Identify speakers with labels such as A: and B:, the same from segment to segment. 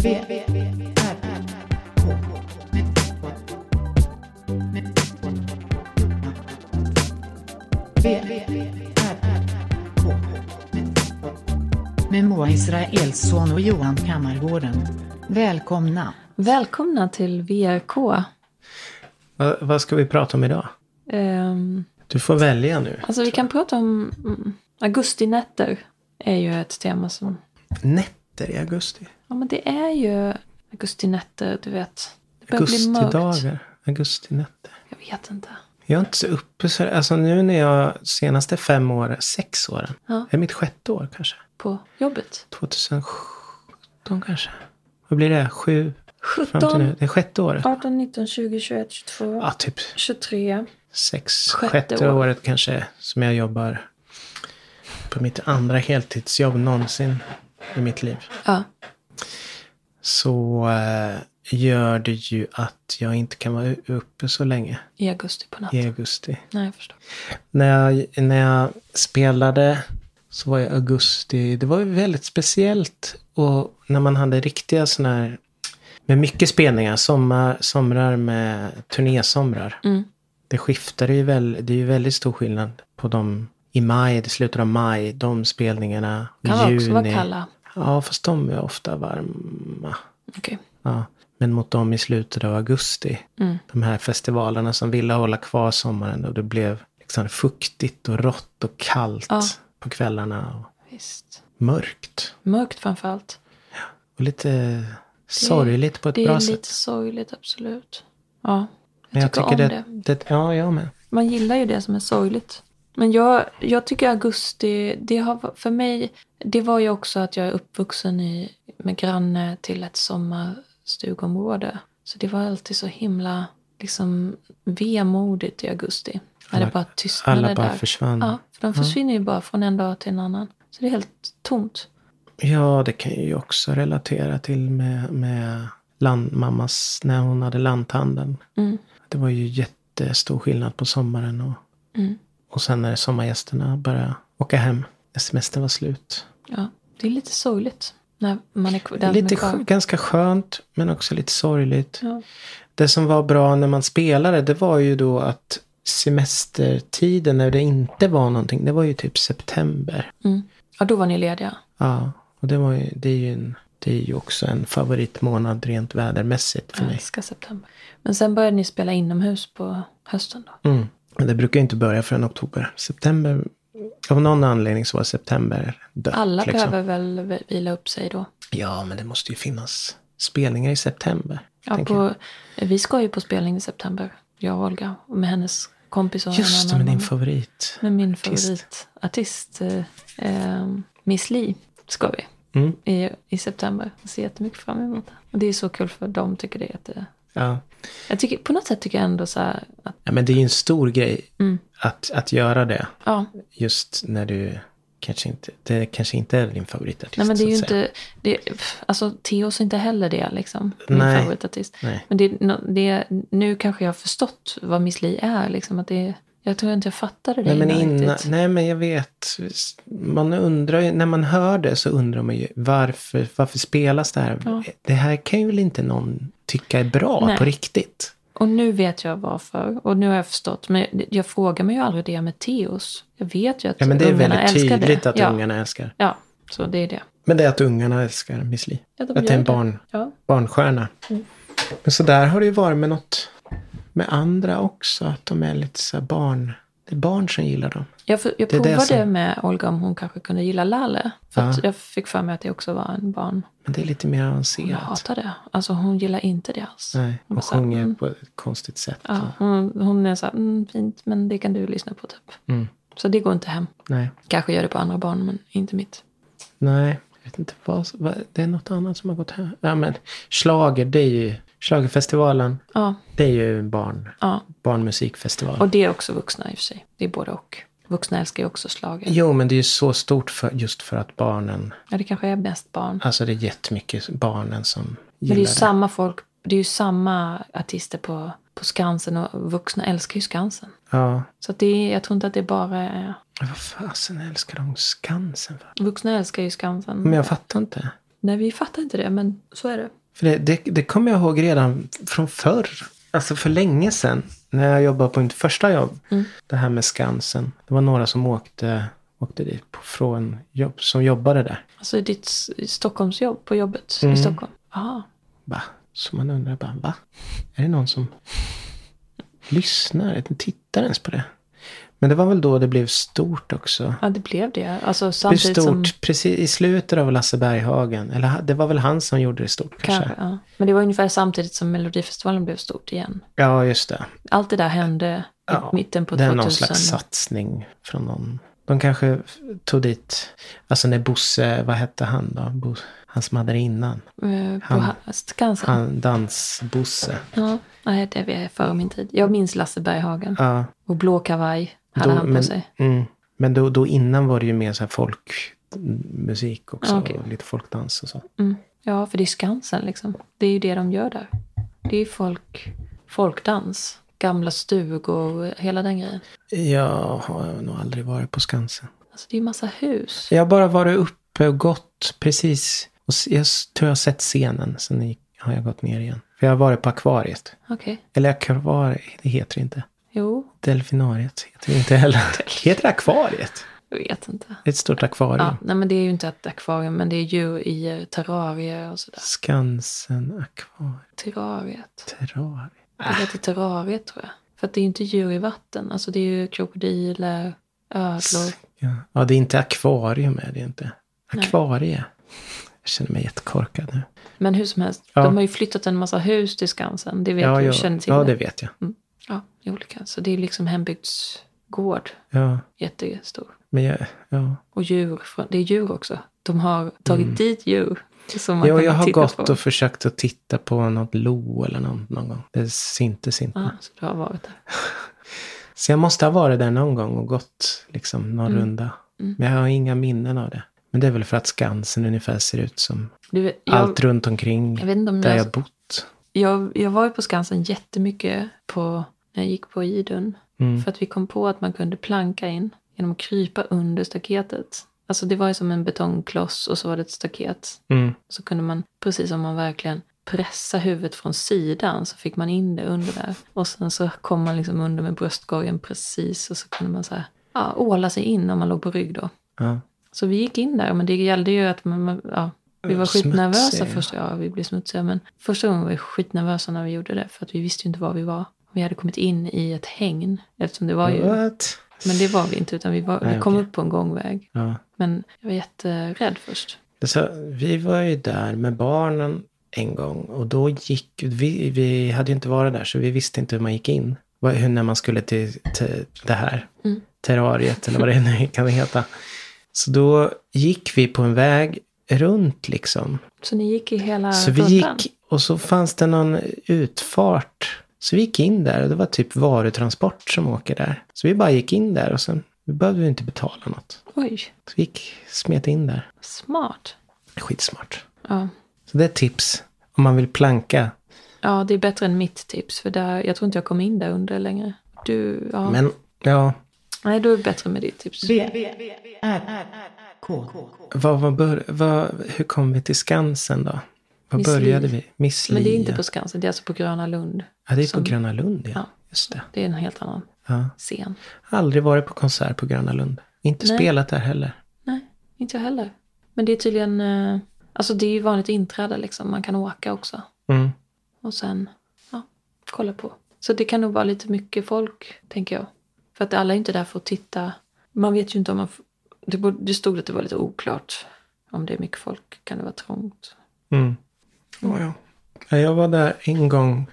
A: V, R, K. V, R, K. Med Moa Israelsson och Johan Kammargården. Välkomna.
B: Välkomna till VRK.
C: Va, vad ska vi prata om idag?
B: Ehm,
C: Du får välja nu.
B: alltså vi kan prata om mm, augustinätter. är ju ett tema som...
C: Nätter i augusti.
B: Ja men det är ju augustinätter, du vet. Det börjar bli mörkt.
C: Augustidagar. Augustinätter.
B: Jag vet inte.
C: Jag är inte så uppe så Alltså nu när jag senaste fem åren, sex åren.
B: Ja.
C: Är mitt sjätte år kanske?
B: På jobbet.
C: 2017 kanske? Vad blir det? Sju? Fram till nu.
B: 17,
C: Det är sjätte året.
B: 18, 19, 20, 21, 22,
C: Ja, typ
B: 23.
C: sex.
B: Sjätte
C: Sjätte,
B: år.
C: året kanske som jag jobbar på mitt andra heltidsjobb någonsin i mitt liv.
B: Ja.
C: så eh, gör det ju att jag inte kan vara uppe så länge
B: I augusti på natten.
C: i augusti.
B: Nej, jag förstår.
C: När jag, när jag spelade så var jag augusti. Det var ju väldigt speciellt. Och när man hade riktiga sådana här med mycket spelningar, sommar, somrar med turnésomrar.
B: Mm.
C: Det skiftar ju väl, det är ju väldigt stor skillnad på de i maj, det slutar av maj, de spelningarna.
B: Kan vara
C: juni.
B: också vara kalla.
C: Ja, fast de är ofta varma.
B: Okej.
C: Ja, men mot dem i slutet av augusti.
B: Mm.
C: De här festivalerna som ville hålla kvar sommaren och det blev liksom fuktigt och rått och kallt
B: Ja.
C: på kvällarna. Och
B: Visst.
C: mörkt.
B: Mörkt framförallt.
C: Och lite sorgligt på ett
B: Det
C: bra
B: är
C: sätt.
B: lite sorgligt, absolut. Ja, jag,
C: Men
B: tycker, om det.
C: det. Ja, jag med.
B: Man gillar ju det som är sorgligt. Men jag, jag tycker augusti, det har för mig, det var ju också att jag är uppvuxen i, med granne till ett sommarstugområde. Så det var alltid så himla liksom vemodigt i augusti. När
C: Alla-
B: det bara tystnade
C: Alla bara
B: där.
C: försvann.
B: Ja,
C: Ja.
B: för de försvinner ju bara från en dag till en annan. Så det är helt tomt.
C: det kan jag ju också relatera till med, med landmammas, när hon hade lanthandeln.
B: Mm,
C: Det var ju jättestor skillnad på sommaren och
B: mm,
C: Och sen när sommargästerna började åka hem. när Semestern var slut.
B: ja. Det är lite sorgligt. När man är, kv- den som
C: Lite
B: är kvar.
C: skö- ganska skönt men också lite sorgligt.
B: Ja.
C: Det som var bra när man spelade det var ju då att semestertiden när det inte var någonting. Det var ju typ september.
B: Mm. ja, då var ni lediga.
C: Ja, och det, var ju, det, är ju en, det är ju också en favoritmånad rent vädermässigt för
B: Jag
C: mig.
B: älskar september. Men sen började ni spela inomhus på hösten då?
C: Mm. Men det brukar ju inte börja förrän oktober. September, av någon anledning så var september dött.
B: Alla
C: liksom.
B: behöver väl vi- vila upp sig då?
C: Ja, men det måste ju finnas spelningar i september.
B: Ja,
C: tänker jag.
B: på, vi ska ju på spelning i september, jag och Olga. Och med hennes kompis och
C: Just det,
B: en
C: med
B: annan.
C: din favorit.
B: med min
C: artist.
B: favoritartist eh, eh, Miss Li ska vi
C: Mm.
B: i, i september. Jag ser jättemycket fram emot det. Och det är så kul för dem tycker det. Att, det-
C: Ja.
B: jag tycker, på något sätt tycker jag ändå så här att
C: ja, men det är ju en stor grej
B: Mm.
C: att, att göra det.
B: ja,
C: Just när du kanske inte, det kanske inte är din favoritartist.
B: Nej men det är ju
C: så att säga.
B: inte, det, pff, alltså Teos är inte heller det liksom. Min
C: Nej.
B: favoritartist.
C: Nej.
B: Men det, är nå- det, nu kanske jag har förstått vad Miss Li är liksom. Att det, jag tror inte jag fattade det
C: Nej men, innan,
B: riktigt.
C: nej men jag vet. Man undrar ju, när man hör det så undrar man ju varför, varför spelas det här?
B: Ja.
C: Det här kan ju väl inte någon tycka är bra
B: Nej.
C: på riktigt?
B: Och nu vet jag varför. Och nu har jag förstått. Men jag frågar mig ju aldrig det med Teos. Jag vet ju att
C: Ja men det är
B: ungarna
C: väldigt
B: älskar
C: tydligt
B: det.
C: att
B: ja.
C: ungarna älskar.
B: Ja, så det är det.
C: Men det är att ungarna älskar Miss Li.
B: Ja, de
C: Att det
B: gör
C: är en barn,
B: Ja.
C: barnstjärna.
B: Mm.
C: Men så där har det ju varit med något med andra också. Att de är lite så här barn. Det är barn som gillar dem.
B: Jag, för, jag
C: Det är det
B: provade
C: som-
B: med Olga om hon kanske kunde gilla Lalle. För
C: Ja.
B: att jag fick för mig att det också var en barn.
C: Men det är lite mer
B: Hon
C: avancerat.
B: hatar det. Alltså hon gillar inte det alls.
C: Nej,
B: Hon
C: de
B: bara så här,
C: sjunger
B: mm.
C: på ett konstigt sätt.
B: Ja, hon, hon är så här, mm, fint, men det kan du lyssna på typ.
C: Mm.
B: Så det går inte hem.
C: Nej.
B: Kanske gör det på andra barn, men inte mitt.
C: Nej, jag vet inte vad, vad. Det är något annat som har gått här. Ja, men schlager, det är ju... Schlagerfestivalen,
B: Ja,
C: det är ju en barn,
B: ja.
C: barnmusikfestival.
B: Och det är också vuxna i och för sig. Det är både och. Vuxna älskar ju också slaget.
C: Jo, men det är ju så stort för, just för att barnen...
B: Ja, det kanske är mest barn.
C: Alltså det är jättemycket barnen som
B: Men
C: gillar
B: det är ju samma folk, det är ju samma artister på, på Skansen och vuxna älskar ju Skansen.
C: Ja,
B: Så att det är, jag tror inte att det bara är...
C: Vad fasen älskar de Skansen för?
B: Vuxna älskar ju Skansen.
C: Mm. Men jag fattar inte.
B: Nej, vi fattar inte det, men så är det.
C: För det, det, det kommer jag ihåg redan från förr. Alltså för länge sedan. När jag jobbade på mitt första jobb.
B: Mm.
C: Det här med Skansen. Det var några som åkte, åkte dit på, från jobb, som jobbade där.
B: Alltså ditt s- Stockholmsjobb på jobbet
C: Mm.
B: i Stockholm. Aha.
C: Va? Så man undrar bara, va? Är det någon som lyssnar? Tittar ens på det? Men det var väl då det blev stort också.
B: Ja, det blev det. Alltså
C: Det blev
B: samtidigt
C: stort
B: som...
C: precis i slutet av Lasse Berghagen. Eller ha- det var väl han som gjorde det stort kanske?
B: Kanske, ja. Men det var ungefär samtidigt som Melodifestivalen blev stort igen.
C: Ja, just det.
B: Allt det där hände
C: Ja,
B: i mitten på
C: det
B: 2000.
C: är någon slags satsning från någon. De kanske tog dit, alltså när Bosse, vad hette han då? Bo, han som hade det innan.
B: eh, på
C: Han-
B: ha- Skansen.
C: Han, dans-Bosse.
B: Ja, nej, det är före min tid. Jag minns Lasse Berghagen.
C: Ja,
B: Och blå kavaj hade
C: då-
B: han på
C: men,
B: sig.
C: Mm, men då, då innan var det ju mer så här folkmusik också.
B: Ja, okej.
C: Och lite folkdans och så.
B: Mm. Ja, för det är Skansen liksom. Det är ju det de gör där. Det är ju folk, folkdans. Gamla stugor och hela den grejen.
C: Jag har nog aldrig varit på Skansen.
B: Alltså det är ju massa hus.
C: Jag har bara varit uppe och gått precis. Och s- jag s- tror jag har sett scenen. Sen gick- har jag gått ner igen. För jag har varit på akvariet.
B: Okej.
C: Eller akvariet, det heter det inte.
B: Jo,
C: Delfinariet heter det inte heller. heter det akvariet?
B: jag vet inte.
C: Det är Ett stort akvarium.
B: Ja, nej men det är ju inte ett akvarium, men det är djur i eh, terrarier och sådär.
C: Skansen akvariet.
B: Terrariet.
C: terrariet.
B: Det heter terrariet tror jag. För att det är ju inte djur i vatten. Alltså det är ju krokodiler, ödlor.
C: Ja. ja, det är inte akvarium är det inte.
B: Nej.
C: Akvarie. Jag känner mig jättekorkad nu.
B: Men hur som helst,
C: Ja.
B: de har ju flyttat en massa hus till Skansen. Det vet
C: ja,
B: du,
C: ja.
B: känner till
C: ja,
B: det.
C: det vet jag.
B: Ja, i olika. Så det är liksom hembygdsgård.
C: Ja,
B: Jättestor.
C: men jag, ja.
B: Och djur. från- Det är djur också. De har tagit dit djur. Som man
C: Mm. Ja,
B: kan
C: jag har
B: titta
C: gått
B: på.
C: och försökt att titta på något lo eller någon, någon gång. Det syntes inte.
B: Ja, så du har varit där.
C: Så jag måste ha varit där någon gång och gått liksom någon
B: Mm.
C: runda.
B: Mm.
C: Men jag har inga minnen av det. Men det är väl för att Skansen ungefär ser ut som
B: Du, vet, jag,
C: allt runt omkring
B: jag vet inte om
C: där
B: jag,
C: jag
B: jag...
C: bott.
B: Jag, var ju på Skansen jättemycket på, när jag gick på Idun.
C: Mm.
B: För att vi kom på att man kunde planka in genom att krypa under staketet. Alltså det var ju som en betongkloss och så var det ett staket.
C: Mm.
B: Så kunde man, precis som man verkligen pressa huvudet från sidan så fick man in det under där. Och sen så kom man liksom under med bröstkorgen precis och så kunde man så här, ja, åla sig in om man låg på rygg då.
C: Ja.
B: Så vi gick in där, men det gällde ju att man- man, ja, vi var
C: Smutsiga.
B: skitnervösa första ja, vi blev smutsiga, men första gången var vi skitnervösa när vi gjorde det, för att vi visste ju inte var vi var. Vi hade kommit in i ett hägn, eftersom det var ju,
C: What?
B: men det var vi inte, utan vi, var,
C: Nej,
B: vi kom
C: okej.
B: upp på en gångväg.
C: Ja.
B: Men jag var jätterädd först.
C: Så vi var ju där med barnen en gång och då gick vi, vi hade ju inte varit där så vi visste inte hur man gick in. Vad- Hur, när man skulle till, till det här
B: Mm.
C: terrariet eller vad det nu kan heta. Så då gick vi på en väg runt liksom.
B: Så ni gick i hela
C: Så vi
B: rundan?
C: gick och så fanns det någon utfart. Så vi gick in där och det var typ varutransport som åker där. Så vi bara gick in där och sen vi behövde vi inte betala något.
B: Oj,
C: Så vi gick, smet in där.
B: smart.
C: Skitsmart.
B: Ja.
C: Så det är ett tips om man vill planka.
B: ja, det är bättre än mitt tips, för där, jag tror inte jag kom in där under längre. Du, ja.
C: Men ja,
B: Nej, du är bättre med ditt tips.
A: V, V, V, R, R, R, K.
C: vad, vad bör, vad, hur kom vi till Skansen då? Vad
B: Miss
C: började
B: Li.
C: vi? Miss
B: Men det är
C: Li,
B: inte
C: ja.
B: på Skansen, det är alltså på Gröna Lund.
C: Ja, det är på
B: som-
C: Gröna Lund, ja.
B: Ja.
C: Just det.
B: Det är en helt annan
C: Ja.
B: scen.
C: Aldrig varit på konsert på Gröna Lund. Inte
B: Nej.
C: spelat där heller.
B: Nej, inte jag heller. Men det är tydligen, eh, alltså det är ju vanligt inträde liksom, man kan åka också.
C: Mm.
B: Och sen, ja, kolla på. Så det kan nog vara lite mycket folk, tänker jag. För att alla är inte där för att titta. Man vet ju inte om man, f- det, borde- det stod att det var lite oklart. Om det är mycket folk kan det vara trångt.
C: Mm. Ja, ja. Ja, Jag var där en gång,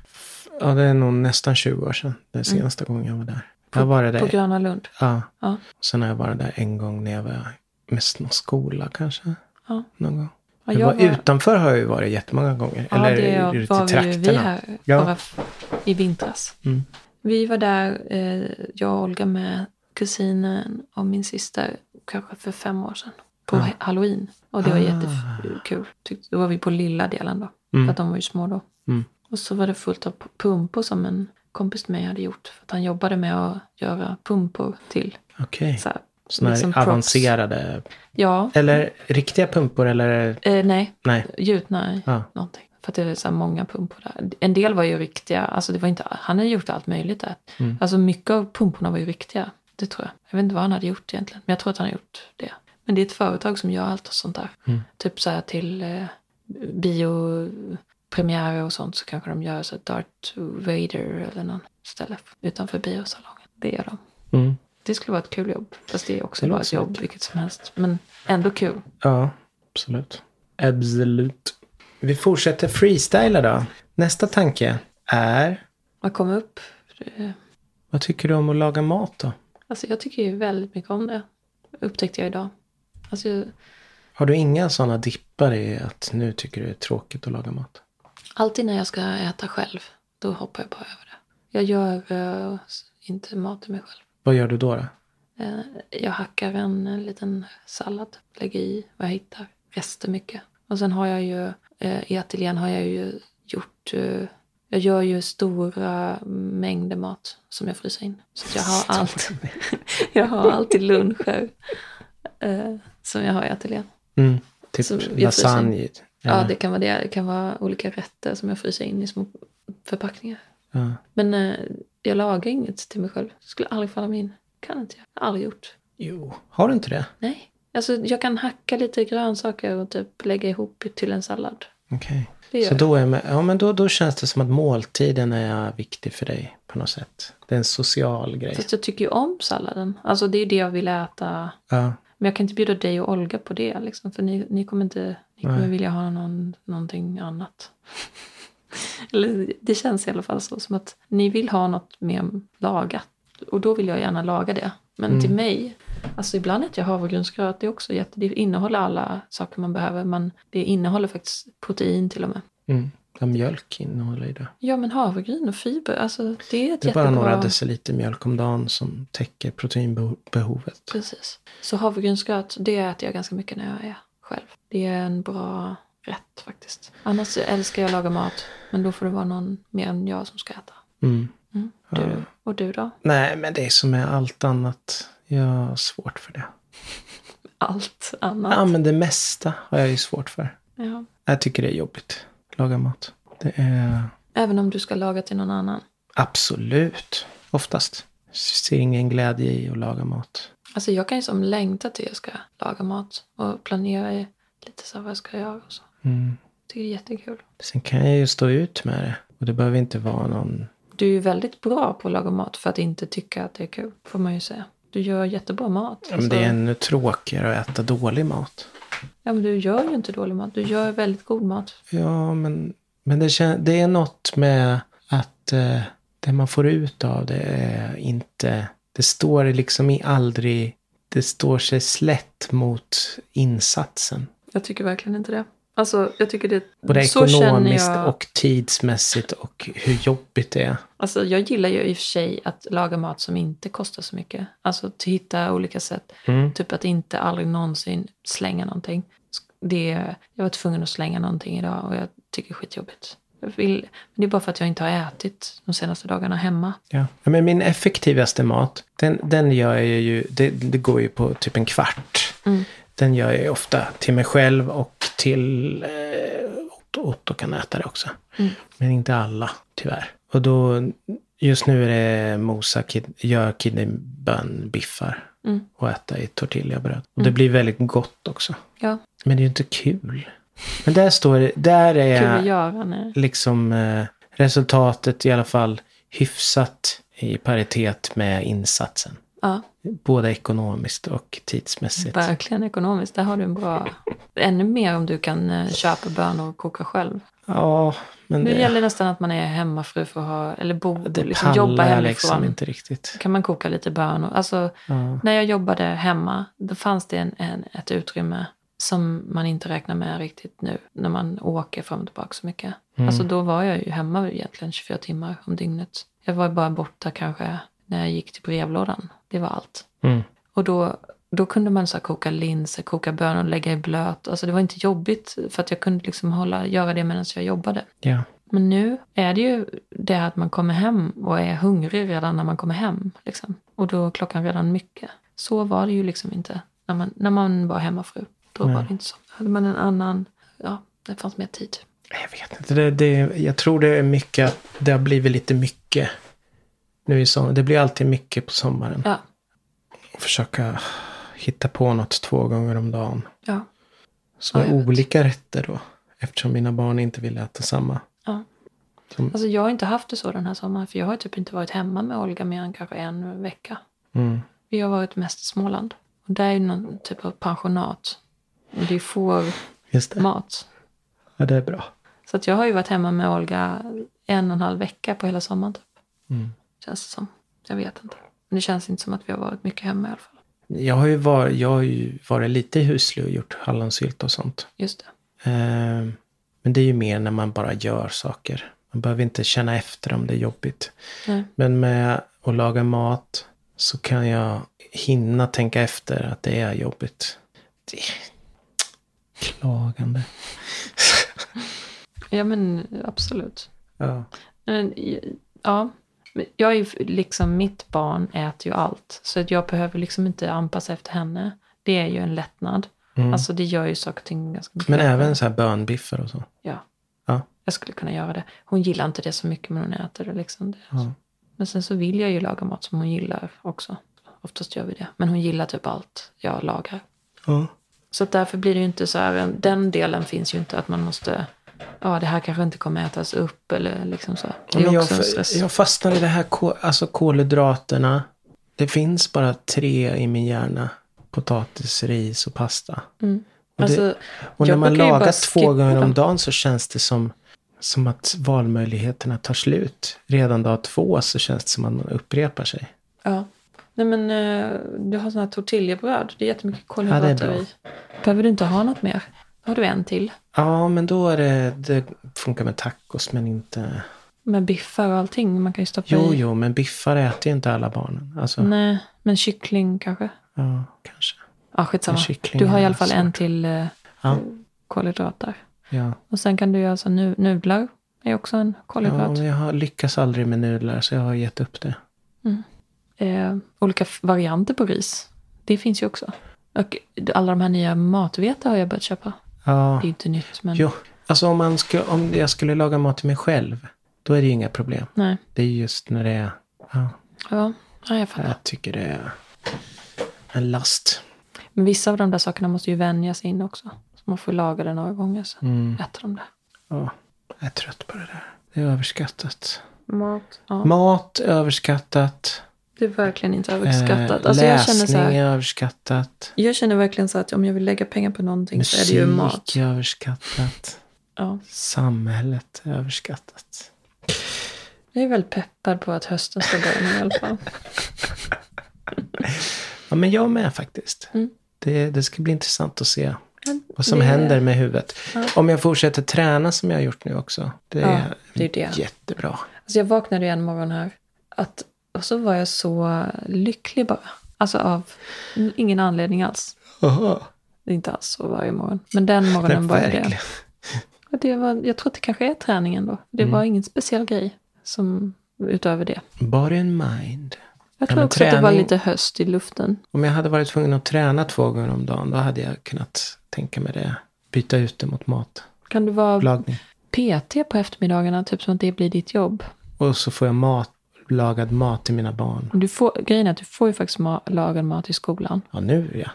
C: ja det är nog nästan 20 år sedan. Den senaste gången jag var där. Jag var där.
B: Mm. På Gröna Lund.
C: Ja.
B: Ja.
C: Och sen har jag varit där en gång när jag var med s- någon skola kanske.
B: Ja.
C: Någon gång.
B: Ja,
C: jag
B: jag
C: var,
B: var-
C: Utanför har jag ju varit jättemånga gånger.
B: Ja,
C: Eller
B: det
C: ute i
B: var ju vi
C: trakterna.
B: här
C: Ja.
B: bara f- i vintras.
C: Mm.
B: Vi var där, eh, jag och Olga med kusinen och min syster, kanske för fem år sedan. På he- halloween. Och det var
C: Ah.
B: jättekul. Tyckte, då var vi på lilla delen då.
C: Mm.
B: För att de var ju små då.
C: Mm.
B: Och så var det fullt av p- pumpor som en kompis till mig hade gjort. För att han jobbade med att göra pumpor till
C: Okej.
B: så här,
C: Sådana
B: Liksom
C: här
B: props.
C: avancerade.
B: Ja,
C: Eller riktiga pumpor eller?
B: eh, nej,
C: Nej.
B: gjutna i
C: Ja.
B: någonting. För att det är så här många pumpor där. En del var ju riktiga, alltså det var inte, han hade gjort allt möjligt där.
C: Mm.
B: Alltså mycket av pumporna var ju riktiga, det tror jag. Jag vet inte vad han hade gjort egentligen, men jag tror att han har gjort det. Men det är ett företag som gör allt och sånt där.
C: Mm.
B: Typ så här till eh, biopremiärer och sånt så kanske de gör så här Darth Vader eller någon ställe utanför biosalongen. Det gör de.
C: Mm.
B: Det skulle vara ett kul jobb. Fast det är också
C: Det
B: bara
C: låter
B: ett
C: som
B: jobb
C: ett-
B: vilket som helst. Men ändå kul.
C: Ja, absolut. Absolut. Vi fortsätter freestyla då. Nästa tanke är,
B: Man kommer upp. eh,
C: vad tycker du om att laga mat då?
B: Alltså jag tycker ju väldigt mycket om det. Upptäckte jag idag. Alltså, jag-
C: Har du inga sådana dippar i att nu tycker du det är tråkigt att laga mat?
B: alltid när jag ska äta själv, då hoppar jag bara över det. Jag gör eh, s- inte mat till mig själv.
C: Vad gör du då? då?
B: Eh, Jag hackar en eh, liten sallad, lägger i vad jag hittar. Rester mycket. Och sen har jag ju, eh, i ateljén har jag ju gjort, eh, jag gör ju stora mängder mat som jag fryser in. Så att jag har allt. jag har alltid luncher eh, som jag har i ateljén.
C: Mm. Typ
B: Som jag fryser in.
C: lasagne?
B: Ja,
C: eller-
B: det kan vara det. Det kan vara olika rätter som jag fryser in i små förpackningar.
C: ja.
B: Men eh, jag lagar inget till mig själv. Skulle aldrig falla mig in. Kan inte jag. Aldrig gjort.
C: Jo, har du inte det?
B: Nej. Alltså jag kan hacka lite grönsaker och typ lägga ihop till en sallad.
C: Okej.
B: Det gör
C: Så
B: jag.
C: då, är med, ja, men då, då känns det som att måltiden är viktig för dig på något sätt. Det är en social grej.
B: Fast jag tycker ju om salladen. Alltså det är ju det jag vill äta.
C: Ja.
B: Men jag kan inte bjuda dig och Olga på det liksom. För ni, ni kommer inte, ni kommer
C: Nej.
B: vilja ha någon, någonting annat. Eller det känns i alla fall så. Som att ni vill ha något mer lagat. Och då vill jag gärna laga det. Men
C: Mm.
B: till mig, alltså ibland äter jag havregrynsgröt. Det är också jätte, det innehåller alla saker man behöver. Men det innehåller faktiskt protein till och med.
C: Mm. Ja, mjölk innehåller ju det.
B: Ja men havregryn och fiber, alltså det är ett
C: Det är
B: jättebra...
C: bara några deciliter mjölk om dagen som täcker proteinbehovet.
B: Precis. Så havregrynsgröt, det äter jag ganska mycket när jag är själv. Det är en bra rätt faktiskt. Annars älskar jag att laga mat, men då får det vara någon mer än jag som ska äta.
C: Mm.
B: Mm.
C: Ja.
B: Du, och du då?
C: Nej, men det är som med allt annat. Jag har svårt för det.
B: Allt
C: Ja,
B: annat.
C: men det mesta har jag ju svårt för.
B: Ja.
C: Jag tycker det är jobbigt. Laga mat. Det är
B: Även om du ska laga till någon annan.
C: absolut oftast. Ser ingen glädje i att laga mat.
B: Alltså jag kan ju som längta till jag ska laga mat och planera i lite så här vad jag ska göra och så.
C: Mm.
B: Tycker det är jättekul.
C: Sen kan jag ju stå ut med det. Och det behöver inte vara någon...
B: Du är ju väldigt bra på att laga mat för att inte tycka att det är kul, får man ju säga. Du gör jättebra mat. Alltså,
C: Ja, men det
B: så-
C: är ännu tråkigare att äta dålig mat.
B: Ja, men du gör ju inte dålig mat. Du gör väldigt god mat.
C: Ja, men, men det, kän, det är något med att eh, det man får ut av det är inte... Det står liksom i aldrig... Det står sig slätt mot insatsen.
B: Jag tycker verkligen inte det. Alltså, jag tycker det...
C: Både
B: så känner
C: ekonomiskt
B: jag.
C: och tidsmässigt och hur jobbigt det är.
B: Alltså, jag gillar ju i och för sig att laga mat som inte kostar så mycket. Alltså, att hitta olika sätt. Typ att inte aldrig någonsin slänga någonting. Det, jag var tvungen att slänga någonting idag och jag tycker det är skitjobbigt. Jag vill, men det är bara för att jag inte har ätit de senaste dagarna hemma.
C: Ja. Ja, men min effektivaste mat, den, den gör jag ju, det, det går ju på typ en kvart.
B: Mm.
C: Den gör jag ju ofta till mig själv och till eh, Otto. Otto kan äta det också.
B: Mm.
C: Men inte alla, tyvärr. Och då, just nu är det mosa, kid, gör kidneybönbiffar
B: Mm.
C: och äta i tortillabröd. Och det blir väldigt gott också.
B: Ja,
C: Men det är ju inte kul. Men där står det, där är
B: kul att göra. Nej.
C: liksom eh, resultatet i alla fall hyfsat i paritet med insatsen.
B: Ja,
C: Både ekonomiskt och tidsmässigt.
B: verkligen ekonomiskt. Där har du en bra... Ännu mer om du kan eh, köpa bönor och koka själv.
C: Ja, men
B: Nu
C: det,
B: gäller det nästan att man är hemmafru för att ha, eller bo,
C: det
B: liksom jobba
C: pallar jag
B: hemifrån.
C: liksom inte riktigt.
B: Kan man koka lite bönor? Alltså,
C: Ja.
B: när jag jobbade hemma, då fanns det en, en, ett utrymme som man inte räknar med riktigt nu, när man åker fram och tillbaka så mycket.
C: Mm.
B: Alltså då var jag ju hemma egentligen 24 timmar om dygnet. Jag var bara borta kanske när jag gick till brevlådan. Det var allt.
C: Mm.
B: Och då, då kunde man så här koka linser, koka bönor, lägga i blöt. Alltså det var inte jobbigt för att jag kunde liksom hålla, göra det medan jag jobbade.
C: Ja.
B: Men nu är det ju det att man kommer hem och är hungrig redan när man kommer hem. Liksom. Och då är klockan redan mycket. Så var det ju liksom inte när man, när man var hemmafru. Då
C: Nej.
B: var det inte så. Hade man en annan, ja, det fanns mer tid.
C: Jag vet inte. Det, det, jag tror det är mycket att det har blivit lite mycket nu i sommar. Det blir alltid mycket på sommaren.
B: Ja,
C: Försöka hitta på något två gånger om dagen.
B: ja,
C: Som
B: Ja,
C: är
B: jag vet.
C: olika rätter då. Eftersom mina barn inte vill äta samma.
B: ja.
C: Som-
B: Alltså jag har inte haft det så den här sommaren. För jag har typ inte varit hemma med Olga mer än kanske en vecka.
C: Mm.
B: Vi har varit mest i Småland. Och där är ju någon typ av pensionat. Och det är fårmat.
C: Just det. Ja, det är bra.
B: Så att jag har ju varit hemma med Olga en och en halv vecka på hela sommaren typ.
C: Mm.
B: Känns det som. Jag vet inte. Men det känns inte som att vi har varit mycket hemma i alla fall.
C: Jag har ju varit, jag har ju varit lite huslig och gjort hallonsylt och sånt.
B: Just det.
C: Eh, Men det är ju mer när man bara gör saker. Man behöver inte känna efter om det är jobbigt.
B: Nej.
C: Men med att laga mat så kan jag hinna tänka efter att det är jobbigt. Det... Klagande.
B: Ja men absolut.
C: Ja.
B: Men, ja. Men Jag är ju liksom, mitt barn äter ju allt. Så att jag behöver liksom inte anpassa efter henne. Det är ju en lättnad.
C: Mm.
B: Alltså det gör ju saker och ting ganska mycket
C: Men
B: lättare.
C: även så här bönbiffar och så.
B: Ja.
C: Ja.
B: Jag skulle kunna göra det. Hon gillar inte det så mycket men hon äter det liksom. Det.
C: Ja.
B: Men sen så vill jag ju laga mat som hon gillar också. Oftast gör vi det. Men hon gillar typ allt jag lagar.
C: Ja.
B: Så att därför blir det ju inte så här, den delen finns ju inte att man måste, ja det här kanske inte kommer ätas upp eller liksom så. Det är
C: Men jag,
B: också en stress.
C: jag fastnar i det här kol, alltså kolhydraterna. Det finns bara tre i min hjärna. Potatis, ris och pasta.
B: Mm.
C: Och, det,
B: Alltså,
C: och när
B: jag
C: man
B: brukar ju bara
C: lagar två
B: skippa
C: gånger om
B: dem.
C: dagen så känns det som, som att valmöjligheterna tar slut. Redan dag två så känns det som att man upprepar sig.
B: ja. Nej men eh, du har sådana här tortillabröd, det är jättemycket
C: är
B: kolhydrater
C: bra.
B: i. Behöver du inte ha något mer? Då har du en till.
C: Ja, men då är det, det funkar med tacos men inte...
B: Med biffar och allting, man kan ju stoppa
C: Jo,
B: i.
C: jo, men biffar äter ju inte alla barnen. Alltså,
B: Nej, men kyckling kanske?
C: ja, kanske.
B: Ja, skitsamma.
C: Men kyckling
B: Du har i
C: är
B: alla fall en
C: svårt.
B: till eh,
C: Ja,
B: kolhydrater.
C: ja.
B: Och sen kan du göra så nu, nudlar. är också en
C: ja
B: kolhydrat.
C: men jag har lyckas aldrig med nudlar så jag har gett upp det.
B: eh, olika f- varianter på ris. Det finns ju också. Och alla de här nya matvete har jag börjat köpa.
C: Ja,
B: Det är ju inte nytt, men
C: jo. Alltså om, man skulle, om jag skulle laga mat till mig själv, då är det ju inga problem.
B: nej.
C: Det är just när det är... Ja,
B: Ja, nej, jag fattar.
C: jag tycker det är en last.
B: Men vissa av de där sakerna måste ju vänjas in också. Så man får laga det några gånger, sen
C: Mm.
B: äter de det.
C: Ja, jag är trött på det där. Det är överskattat.
B: Mat. Ja,
C: Mat överskattat.
B: det är verkligen inte
C: Eh,
B: överskattat. Alltså, jag känner
C: läsning
B: så här,
C: är överskattat.
B: jag känner verkligen så att om jag vill lägga pengar på någonting så är det ju mat.
C: Musik är överskattat.
B: Ja.
C: Samhället är överskattat.
B: Jag är väldigt peppad på att hösten ska börja nu i alla fall.
C: Ja, men jag med faktiskt.
B: Mm.
C: Det, det ska bli intressant att se
B: Men
C: vad som
B: det-
C: händer med huvudet.
B: Ja.
C: Om jag fortsätter träna som jag har gjort nu också. Det
B: Ja,
C: är,
B: det är det.
C: jättebra.
B: Alltså jag vaknade ju en morgon här. Att, och så var jag så lycklig bara. Alltså av ingen anledning alls.
C: Aha.
B: Det är inte alls så varje morgon. Men den morgonen var jag det.
C: verkligen.
B: Och det var, jag tror att det kanske är träningen då. Det
C: Mm.
B: var ingen speciell grej som, utöver det.
C: Body and mind.
B: Jag
C: Ja,
B: tror
C: men
B: också att det var
C: träning-
B: lite höst i luften.
C: Om jag hade varit tvungen att träna två gånger om dagen, då hade jag kunnat tänka mig det. Byta ut det mot matlagning.
B: Kan du vara PT på eftermiddagarna, typ som att det blir ditt jobb?
C: Och så får jag mat, lagad mat till mina barn.
B: Du får, grejen är att du får ju faktiskt ma- lagad mat i skolan.
C: Ja, nu ja.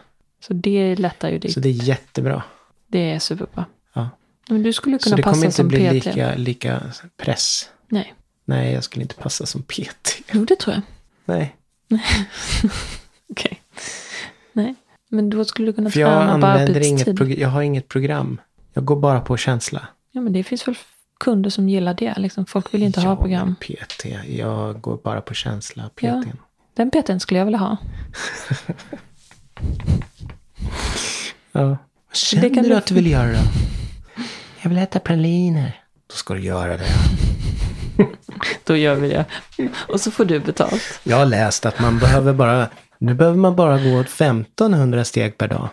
B: Så det lättar ju ditt.
C: Så det är jättebra.
B: Det är superbra.
C: Ja.
B: Men du skulle
C: Så
B: kunna
C: det
B: passa
C: kommer inte
B: som
C: bli
B: PT.
C: lika, lika press.
B: Nej.
C: Nej, jag skulle inte passa som PT.
B: Jo, det tror jag.
C: Nej.
B: Okej. Nej. Men då skulle du kunna
C: För jag
B: träna på
C: använder inget
B: arbetstid.
C: prog- jag har inget program. Jag går bara på känsla.
B: Ja, men det finns väl kunder som gillar det. Liksom, folk vill inte ha
C: Jag är
B: program.
C: PT. Jag går bara på känsla. PT.
B: Ja. Den PTn skulle jag vilja ha.
C: Ja.
B: Det kan
C: Känner du
B: du-
C: att du vill göra då? Jag vill äta praliner. Då ska du göra det.
B: Då gör vi det. Och så får du betalt.
C: Jag har läst att man behöver bara... Nu behöver man bara gå 1500 steg per dag.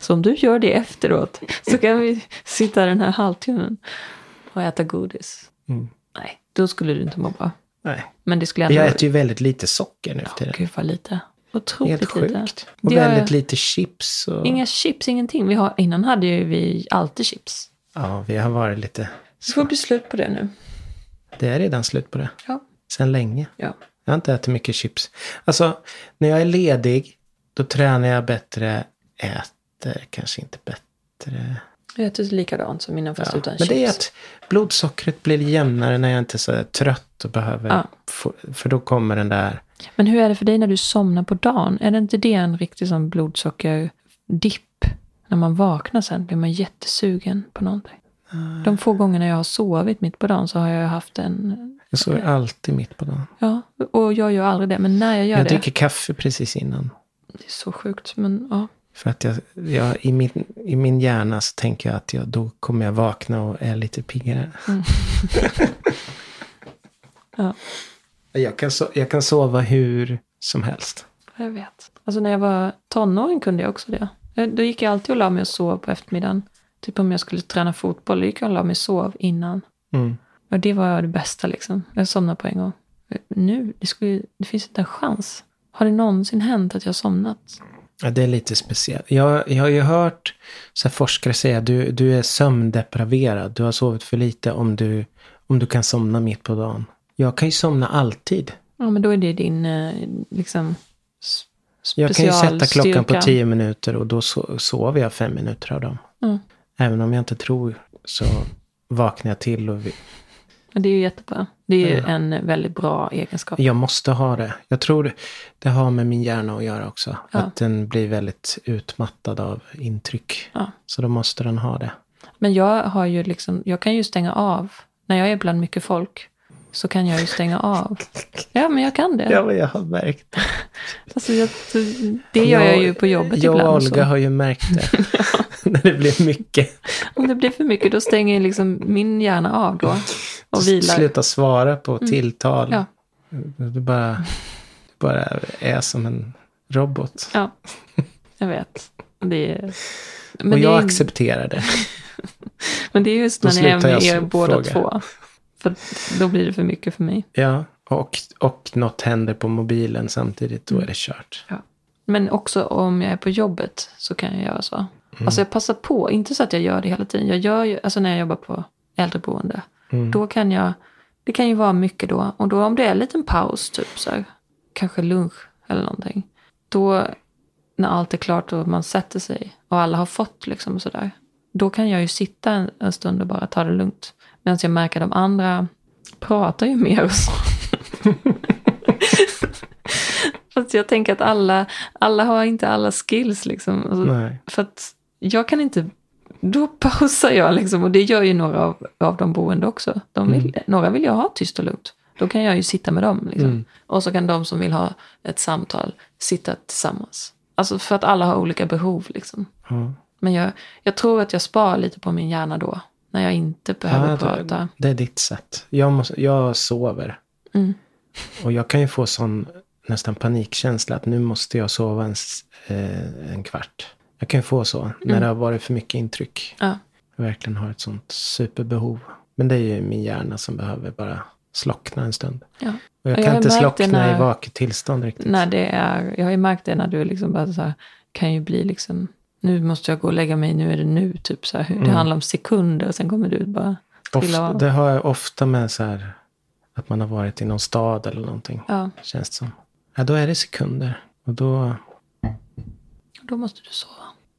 B: Så om du gör det efteråt så kan vi sitta den här halvtimmen och äta godis.
C: Mm.
B: Nej, då skulle du inte må bra.
C: Nej.
B: Men det skulle ändå
C: Jag äter ju väldigt lite socker nu för
B: Ja,
C: tiden.
B: Gud vad lite. Otroligt
C: Helt
B: lite.
C: sjukt. Och
B: Det har
C: väldigt
B: jag-
C: lite chips. Och...
B: Inga chips, ingenting. Vi har, innan hade ju vi alltid chips.
C: Ja, vi har varit lite...
B: Det får bli slut på det nu.
C: Det är redan slut på det.
B: Ja.
C: Sen länge.
B: ja.
C: Jag har inte ätit mycket chips. Alltså, när jag är ledig, då tränar jag bättre, äter kanske inte bättre.
B: Jag äter likadant som innan fast
C: Ja.
B: utan
C: Men
B: chips.
C: det är att blodsockret blir jämnare när jag inte är så där trött och behöver...
B: Ja.
C: Få, för då kommer den där...
B: Men hur är det för dig när du somnar på dagen? Är det inte det en riktig sån blodsockerdipp? När man vaknar sen blir man jättesugen på någonting. De få gångerna jag har sovit mitt på dagen så har jag haft en...
C: Jag sover alltid mitt på dagen.
B: Ja, och jag gör aldrig det. Men när jag gör
C: jag
B: det.
C: dricker kaffe precis innan.
B: Det är så sjukt. Men ja.
C: För att jag, jag, i, min, i min hjärna så tänker jag att jag, då kommer jag vakna och är lite piggare.
B: Mm. ja.
C: Jag kan, so- jag kan sova hur som helst.
B: Jag vet. Alltså när jag var tonåring kunde jag också det. Eh, Då gick jag alltid och la mig och sov på eftermiddagen. Typ om jag skulle träna fotboll, då gick jag och la mig och sov innan.
C: Mm.
B: Och det var det bästa liksom. Jag somnade på en gång. Eh, Nu, det, skulle, det finns inte en chans. Har det någonsin hänt att jag har somnat?
C: Ja, det är lite speciellt. Jag, jag har ju hört så här forskare säga du, du är sömndepraverad. Du har sovit för lite om du, om du kan somna mitt på dagen. Jag kan ju somna alltid.
B: Ja, men då är det din eh, liksom s-
C: Jag kan ju sätta klockan på
B: specialstyrka.
C: tio minuter och då so- sover jag fem minuter av dem.
B: Mm.
C: Även om jag inte tror så vaknar jag till och vi-
B: Men det är ju jättebra. Det är ju en väldigt bra egenskap.
C: Jag måste ha det. Jag tror det har med min hjärna att göra också.
B: Ja.
C: Att den blir väldigt utmattad av intryck.
B: Ja.
C: Så då måste den ha det.
B: Men jag har ju liksom, jag kan ju stänga av. När jag är bland mycket folk så kan jag ju stänga av. Ja, men jag kan det.
C: Ja, men jag har märkt det.
B: Alltså, jag, det gör jag ju på jobbet
C: Jag och
B: ibland. Så.
C: Olga har ju märkt det. När det blir mycket.
B: Om det blir för mycket då stänger jag liksom min hjärna av då. Och vilar. Mm.
C: Sluta svara på tilltal.
B: Ja.
C: Du, bara, du bara är som en robot.
B: Ja, jag vet. Det är, men,
C: och
B: det
C: jag
B: är,
C: accepterar det.
B: men det är just
C: Då
B: när ni är
C: slutar
B: med
C: jag
B: er båda
C: fråga.
B: två. För då blir det för mycket för mig.
C: Ja. Och, och något händer på mobilen samtidigt. Då är det kört.
B: Men också om jag är på jobbet så kan jag göra så.
C: Mm.
B: Alltså jag passar på, inte så att jag gör det hela tiden. Jag gör ju, alltså när jag jobbar på äldreboende, då kan jag, det kan ju vara mycket då. Och då om det är en liten paus, typ så här, kanske lunch eller någonting. Då när allt är klart och man sätter sig och alla har fått liksom sådär. Då kan jag ju sitta en, en stund och bara ta det lugnt. Medan jag märker de andra pratar ju mer och så. Fast jag tänker att alla, alla har inte alla skills liksom. Alltså,
C: Nej.
B: för att jag kan inte... Då pausar jag liksom och det gör ju några av, av de boende också. De vill,
C: Mm.
B: Några vill jag ha tyst och lugnt. Då kan jag ju sitta med dem. Liksom.
C: Mm.
B: Och så kan de som vill ha ett samtal sitta tillsammans. Alltså för att alla har olika behov. Liksom.
C: Ja.
B: Men jag, jag tror att jag sparar lite på min hjärna då. När jag inte behöver
C: Ja, det-
B: prata.
C: Det är ditt sätt. Jag, måste, jag sover.
B: Mm.
C: Och jag kan ju få sån nästan panikkänsla att nu måste jag sova en, s- eh, en kvart. Jag kan ju få så när det har varit för mycket intryck.
B: Mm. Ja.
C: Jag verkligen har ett sånt superbehov. Men det är ju min hjärna som behöver bara slockna en stund.
B: Ja.
C: Och jag
B: Ja,
C: kan
B: jag har
C: inte
B: märkt
C: slockna
B: det när-
C: i vaket tillstånd riktigt.
B: När det är, jag har ju märkt det när du liksom bara så här, kan ju bli liksom, nu måste jag gå och lägga mig, nu är det nu, typ så här.
C: Mm.
B: Det handlar om sekunder och sen kommer du bara trilla
C: Ofta,
B: av.
C: det har jag ofta med så här att man har varit i någon stad eller någonting.
B: Ja,
C: Känns det som. Ja, då är det sekunder. Och då
B: då måste du sova.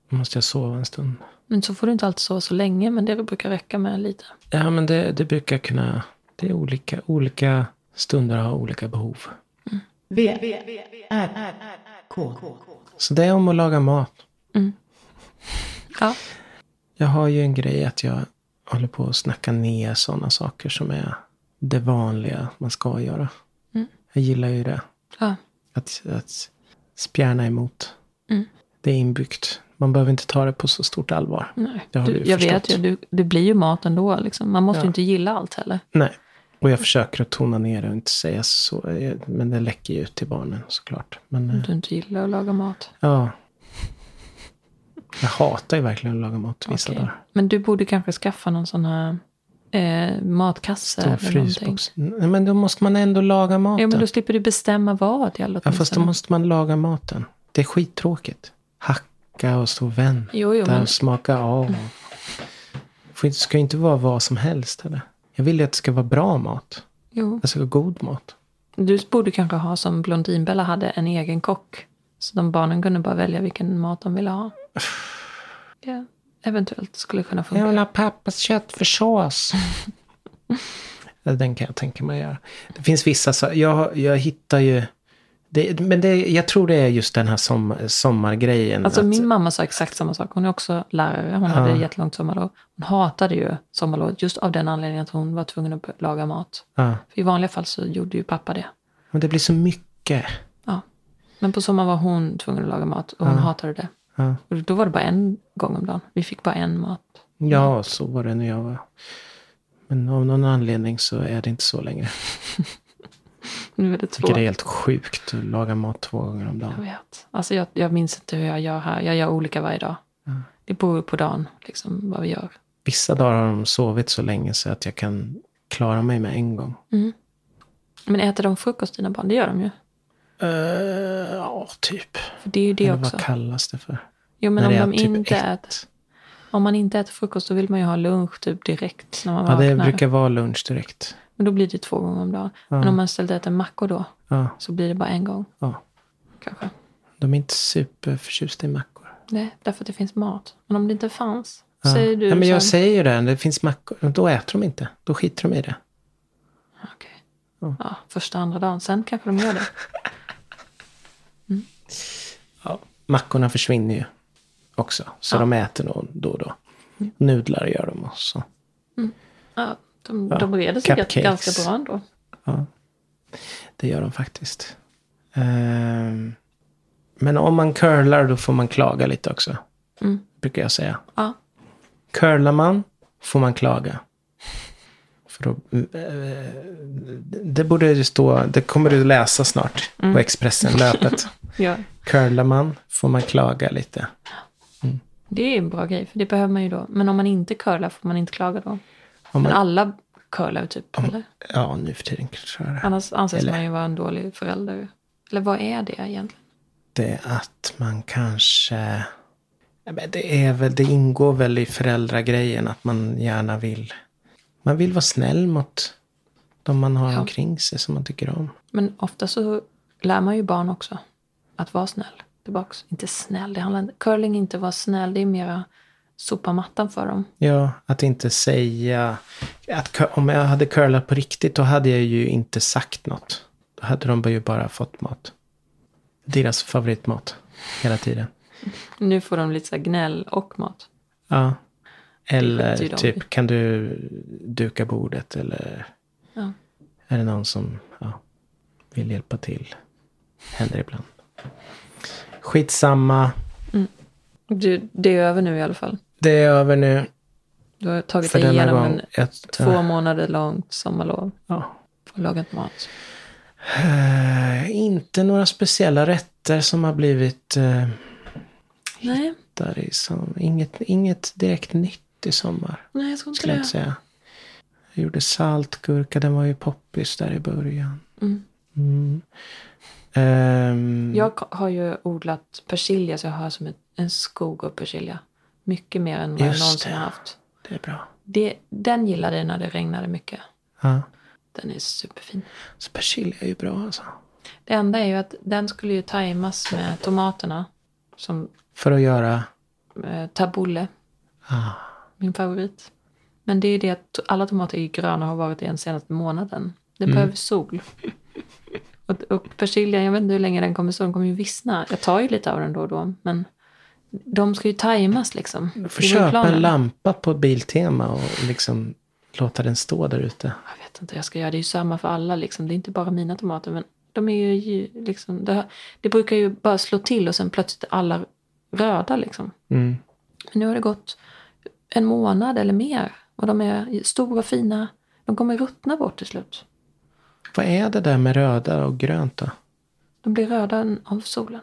C: måste jag sova en stund.
B: Men så får du inte alltid sova så länge, men det brukar räcka med lite.
C: Ja, men det, det brukar kunna... Det är olika. Olika stunder har olika behov.
A: V, V, R, R, K.
C: Så det är om att laga mat.
B: Ja,
C: Jag har ju en grej att jag håller på att snacka ner sådana saker som är det vanliga man ska göra.
B: Mm.
C: Jag gillar ju det.
B: ja,
C: Att, att spjärna emot.
B: Mm.
C: Det är inbyggt. Man behöver inte ta det på så stort allvar.
B: nej.
C: Det har
B: Du,
C: du
B: jag vet
C: förstått.
B: ju, du, det blir ju mat ändå liksom. Man måste ju
C: Ja.
B: inte gilla allt heller.
C: Nej. Och jag försöker att tona ner det och inte säga så. eh, Men det läcker ju ut till barnen såklart. Men,
B: Om
C: eh,
B: du inte gillar att laga mat.
C: Ja. Jag hatar ju verkligen att laga mat vissa
B: Okej.
C: dagar.
B: Men du borde kanske skaffa någon sån här eh, matkasse eller
C: Stor
B: någonting.
C: frysbox. Nej, men då måste man ändå laga maten.
B: Ja, men då slipper du bestämma vad i alla
C: Ja, fast då
B: åtminstone.
C: måste man laga maten. Det är skittråkigt. Hacka och stå och vänta
B: Jo, jo, men Mm.
C: och smaka av. Det ska ju inte vara vad som helst heller. Jag vill ju att det ska vara bra mat.
B: jo.
C: Alltså god mat.
B: Du borde kanske ha som Blondinbella hade, en egen kock. Så de barnen kunde bara välja vilken mat de ville ha. Ja, eventuellt skulle kunna funka.
C: Jag vill ha pappas köttfärssås. Den kan jag tänka mig göra. Det finns vissa så jag, jag hittar ju... Det, men det, jag tror det är just den här som, sommargrejen.
B: Alltså
C: Mm, att-
B: min mamma sa exakt samma sak. Hon är också lärare. Hon hade
C: Ja.
B: jättelångt sommarlov. Hon hatade ju sommarlovet just av den anledningen att hon var tvungen att laga mat.
C: ja,
B: För i vanliga fall så gjorde ju pappa det.
C: men det blir så mycket.
B: Ja. Men på sommaren var hon tvungen att laga mat och hon hatade det.
C: Ja.
B: Och då var det bara en gång om dagen. Vi fick bara en mat. Mm.
C: Ja, så var det när jag var. Men av någon anledning så är det inte så längre.
B: Nu är det
C: Jag tycker
B: två.
C: det är helt sjukt att laga mat två gånger om
B: Jag
C: dagen.
B: vet. Alltså jag, jag minns inte hur jag gör här. Jag gör olika varje dag. Det beror på dagen, liksom, vad vi gör.
C: Vissa dagar har de sovit så länge så att jag kan klara mig med en gång.
B: Men äter de frukost, dina barn? Det gör de ju.
C: Eh, ja, typ.
B: För Mm. det är ju det
C: Eller
B: också.
C: vad kallas det för?
B: Jo, men om,
C: När det
B: de
C: är typ
B: inte
C: ett.
B: äter, om man inte äter frukost, då vill man ju ha lunch typ direkt när man
C: Ja, det
B: vaknar.
C: brukar vara lunch direkt.
B: Men då blir det två gånger om dagen. Men om man istället äter mackor då,
C: Ja,
B: så blir det bara en gång
C: ja.
B: kanske.
C: De är inte superförtjusta i mackor.
B: Nej, därför att det finns mat. Men om det inte fanns,
C: Ja.
B: säger du
C: Nej, men jag
B: så här,
C: säger ju det. Det finns mackor. Då äter de inte. Då skiter de i det.
B: Okej. Ja, första, andra dagen. Sen kanske de gör det.
C: Ja. Mackorna försvinner ju också. Så de äter nog då och då.
B: Mm.
C: Nudlar gör de också.
B: Ja, de, de reder sig
C: Cupcakes.
B: ganska bra ändå.
C: Det gör de faktiskt. Ehm, men om man curlar då får man klaga lite också.
B: Mm.
C: Brukar jag säga.
B: Ja.
C: Curlar man får man klaga. För då, eh, det borde ju stå, det kommer du läsa snart på Expressen-löpet.
B: Ja,
C: curlar man får man klaga lite.
B: det är ju en bra grej, för det behöver man ju då. Men om man inte curlar får man inte klaga då.
C: Om
B: Men
C: man,
B: alla curlar ju typ, eller?
C: ja, nu för tiden kanske det är det.
B: Annars anses
C: Eller-
B: man ju vara en dålig förälder. Eller vad är det egentligen?
C: Det är att man kanske... Ja, men Det, är väl, det ingår väl i föräldragrejen att man gärna vill... Man vill vara snäll mot de man har
B: Ja.
C: omkring sig som man tycker om.
B: Men ofta så lär man ju barn också att vara snäll. Tillbaks. Inte snäll, det handlar inte... Curling är inte vara snäll, det är mera sopa mattan för dem.
C: Ja, att inte säga... Att, cur- om jag hade curlat på riktigt då hade jag ju inte sagt något. Då hade de ju bara fått mat. Deras favoritmat hela tiden.
B: Nu får de lite så här gnäll och mat.
C: Ja.
B: skiter ju de
C: Eller
B: i.
C: typ, kan du duka bordet eller
B: Ja.
C: är det någon som ja, vill hjälpa till? Händer ibland. Skitsamma.
B: Du, det är över nu i alla fall.
C: Det är över nu
B: Du har tagit
C: för
B: dig
C: denna
B: igenom
C: gång.
B: en
C: Jag-
B: två månader långt sommarlov
C: ja.
B: och lagat mat.
C: Eh, inte några speciella rätter som har blivit eh,
B: Nej,
C: där i som, inget, inget direkt nytt i sommar.
B: nej jag tror inte
C: Skulle jag inte
B: det.
C: säga. Jag gjorde saltgurka, den var ju poppis där i början.
B: Mm.
C: Mm. Ehm,
B: Jag har ju odlat persilja så jag har som en, en skog av persilja. Mycket mer än vad jag
C: Just
B: någonsin
C: det.
B: har haft.
C: Det är bra.
B: Det, den gillade jag när det regnade mycket.
C: Ja.
B: Den är superfin.
C: Så persilja är ju bra alltså.
B: Det enda är ju att den skulle ju tajmas med tomaterna. Som
C: För att göra...
B: eh, tabbouleh,
C: Ah.
B: min favorit. Men det är ju det att to- alla tomater är ju gröna och har varit det den senaste månaden.
C: Mm.
B: Den behöver sol. Och, och persiljan, jag vet inte hur länge den kommer stå, den kommer ju vissna. Jag tar ju lite av den då och då, men de ska ju tajmas liksom.
C: Du får
B: Det är väl
C: köpa en
B: planen.
C: lampa på Biltema och liksom låta den stå där ute.
B: Jag vet inte, jag ska göra det är ju samma för alla liksom. Det är inte bara mina tomater, men de är ju ju liksom. Det, har- det brukar ju bara slå till och sen plötsligt är alla röda liksom.
C: Mm.
B: Men nu har det gått en månad eller mer och de är stora och fina. De kommer ruttna bort till slut.
C: Vad är det där med röda och grönt då?
B: De blir röda av solen.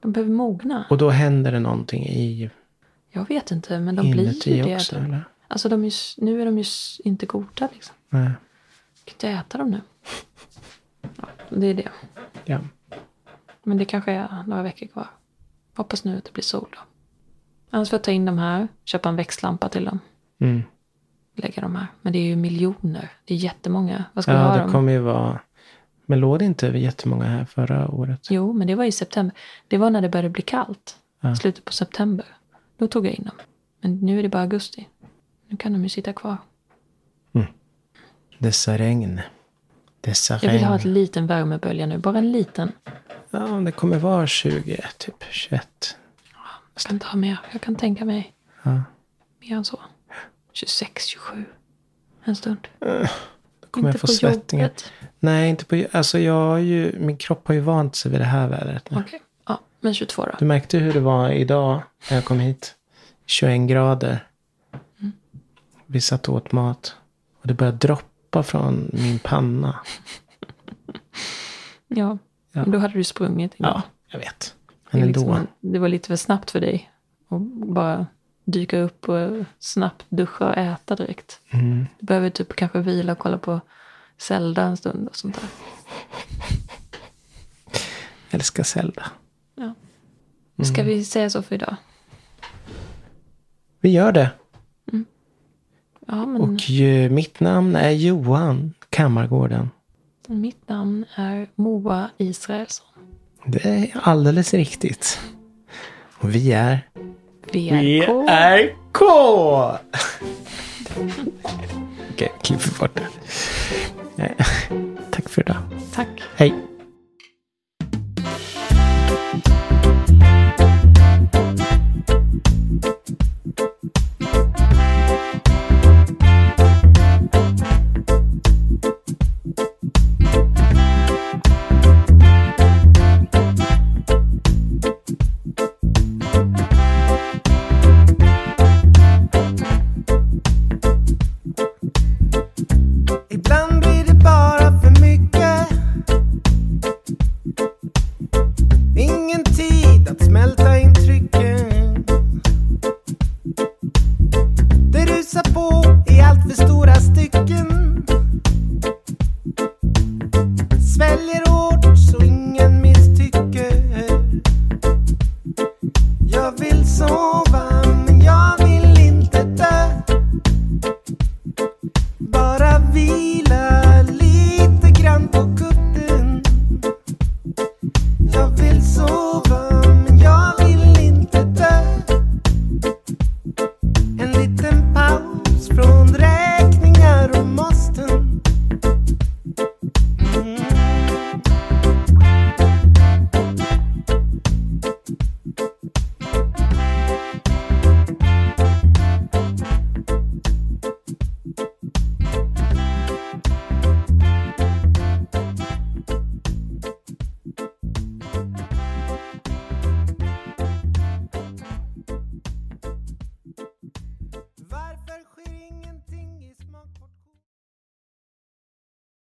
B: De behöver mogna.
C: Och då händer det någonting i
B: Jag vet inte, men de blir
C: inuti
B: ju det.
C: också?
B: typ.
C: Eller?
B: Alltså de är ju, s- nu är de ju s- inte goda liksom.
C: Nej.
B: Jag kan inte äta dem nu. Ja, det är det.
C: Ja.
B: Men det kanske är några veckor kvar. Hoppas nu att det blir sol då. Annars får jag ta in de här, köpa en växtlampa till dem,
C: Mm.
B: lägga de här. Men det är ju miljoner, det är jättemånga. Vad ska vi ha
C: ja,
B: dem?
C: det kommer ju vara... Men låg det inte jättemånga här förra året?
B: Jo, men det var i september. Det var när det började bli kallt,
C: Ja.
B: slutet på september. Då tog jag in dem. Men nu är det bara augusti. Nu kan de ju sitta kvar.
C: Dessa regn. Dessa
B: Jag vill ha
C: regn.
B: en liten värmebölja nu, bara en liten.
C: Ja, det kommer vara 20, typ 21.
B: Jag kan inte ha mer, jag kan tänka mig
C: Ja.
B: mer än så. 26, 27. En stund.
C: Eh, Då kommer jag få svettningar.
B: jobbet.
C: Nej, inte på... Alltså jag har ju... Min kropp har ju vant sig vid det här vädret. nu.
B: Okej. Ja, men 22 då.
C: Du märkte hur det var idag när jag kom hit. 21 grader.
B: Mm.
C: Vi satt och åt mat. Och det började droppa från min panna.
B: Ja.
C: Ja.
B: Men då hade du sprungit. innan.
C: Ja, jag vet.
B: det,
C: Men
B: är
C: ändå.
B: liksom, en- det var lite för snabbt för dig. Och bara dyka upp och snabbt duscha och äta direkt.
C: Mm.
B: Du behöver typ kanske vila och kolla på Zelda en stund och sånt där.
C: Älskar Zelda.
B: Ja.
C: Mm.
B: Ska vi säga så för idag?
C: Vi gör det.
B: Ja, men
C: Och ju, mitt namn är Johan Kammargården.
B: mitt namn är Moa Israelsson.
C: Det är alldeles riktigt. Och vi är...
B: VRK.
C: K! Okej, klipp bort det. Nej. Tack för idag.
B: Tack.
C: Hej.
D: Ibland blir det bara för mycket Ingen tid att smälta intrycken Det rusar på i allt för stora stycken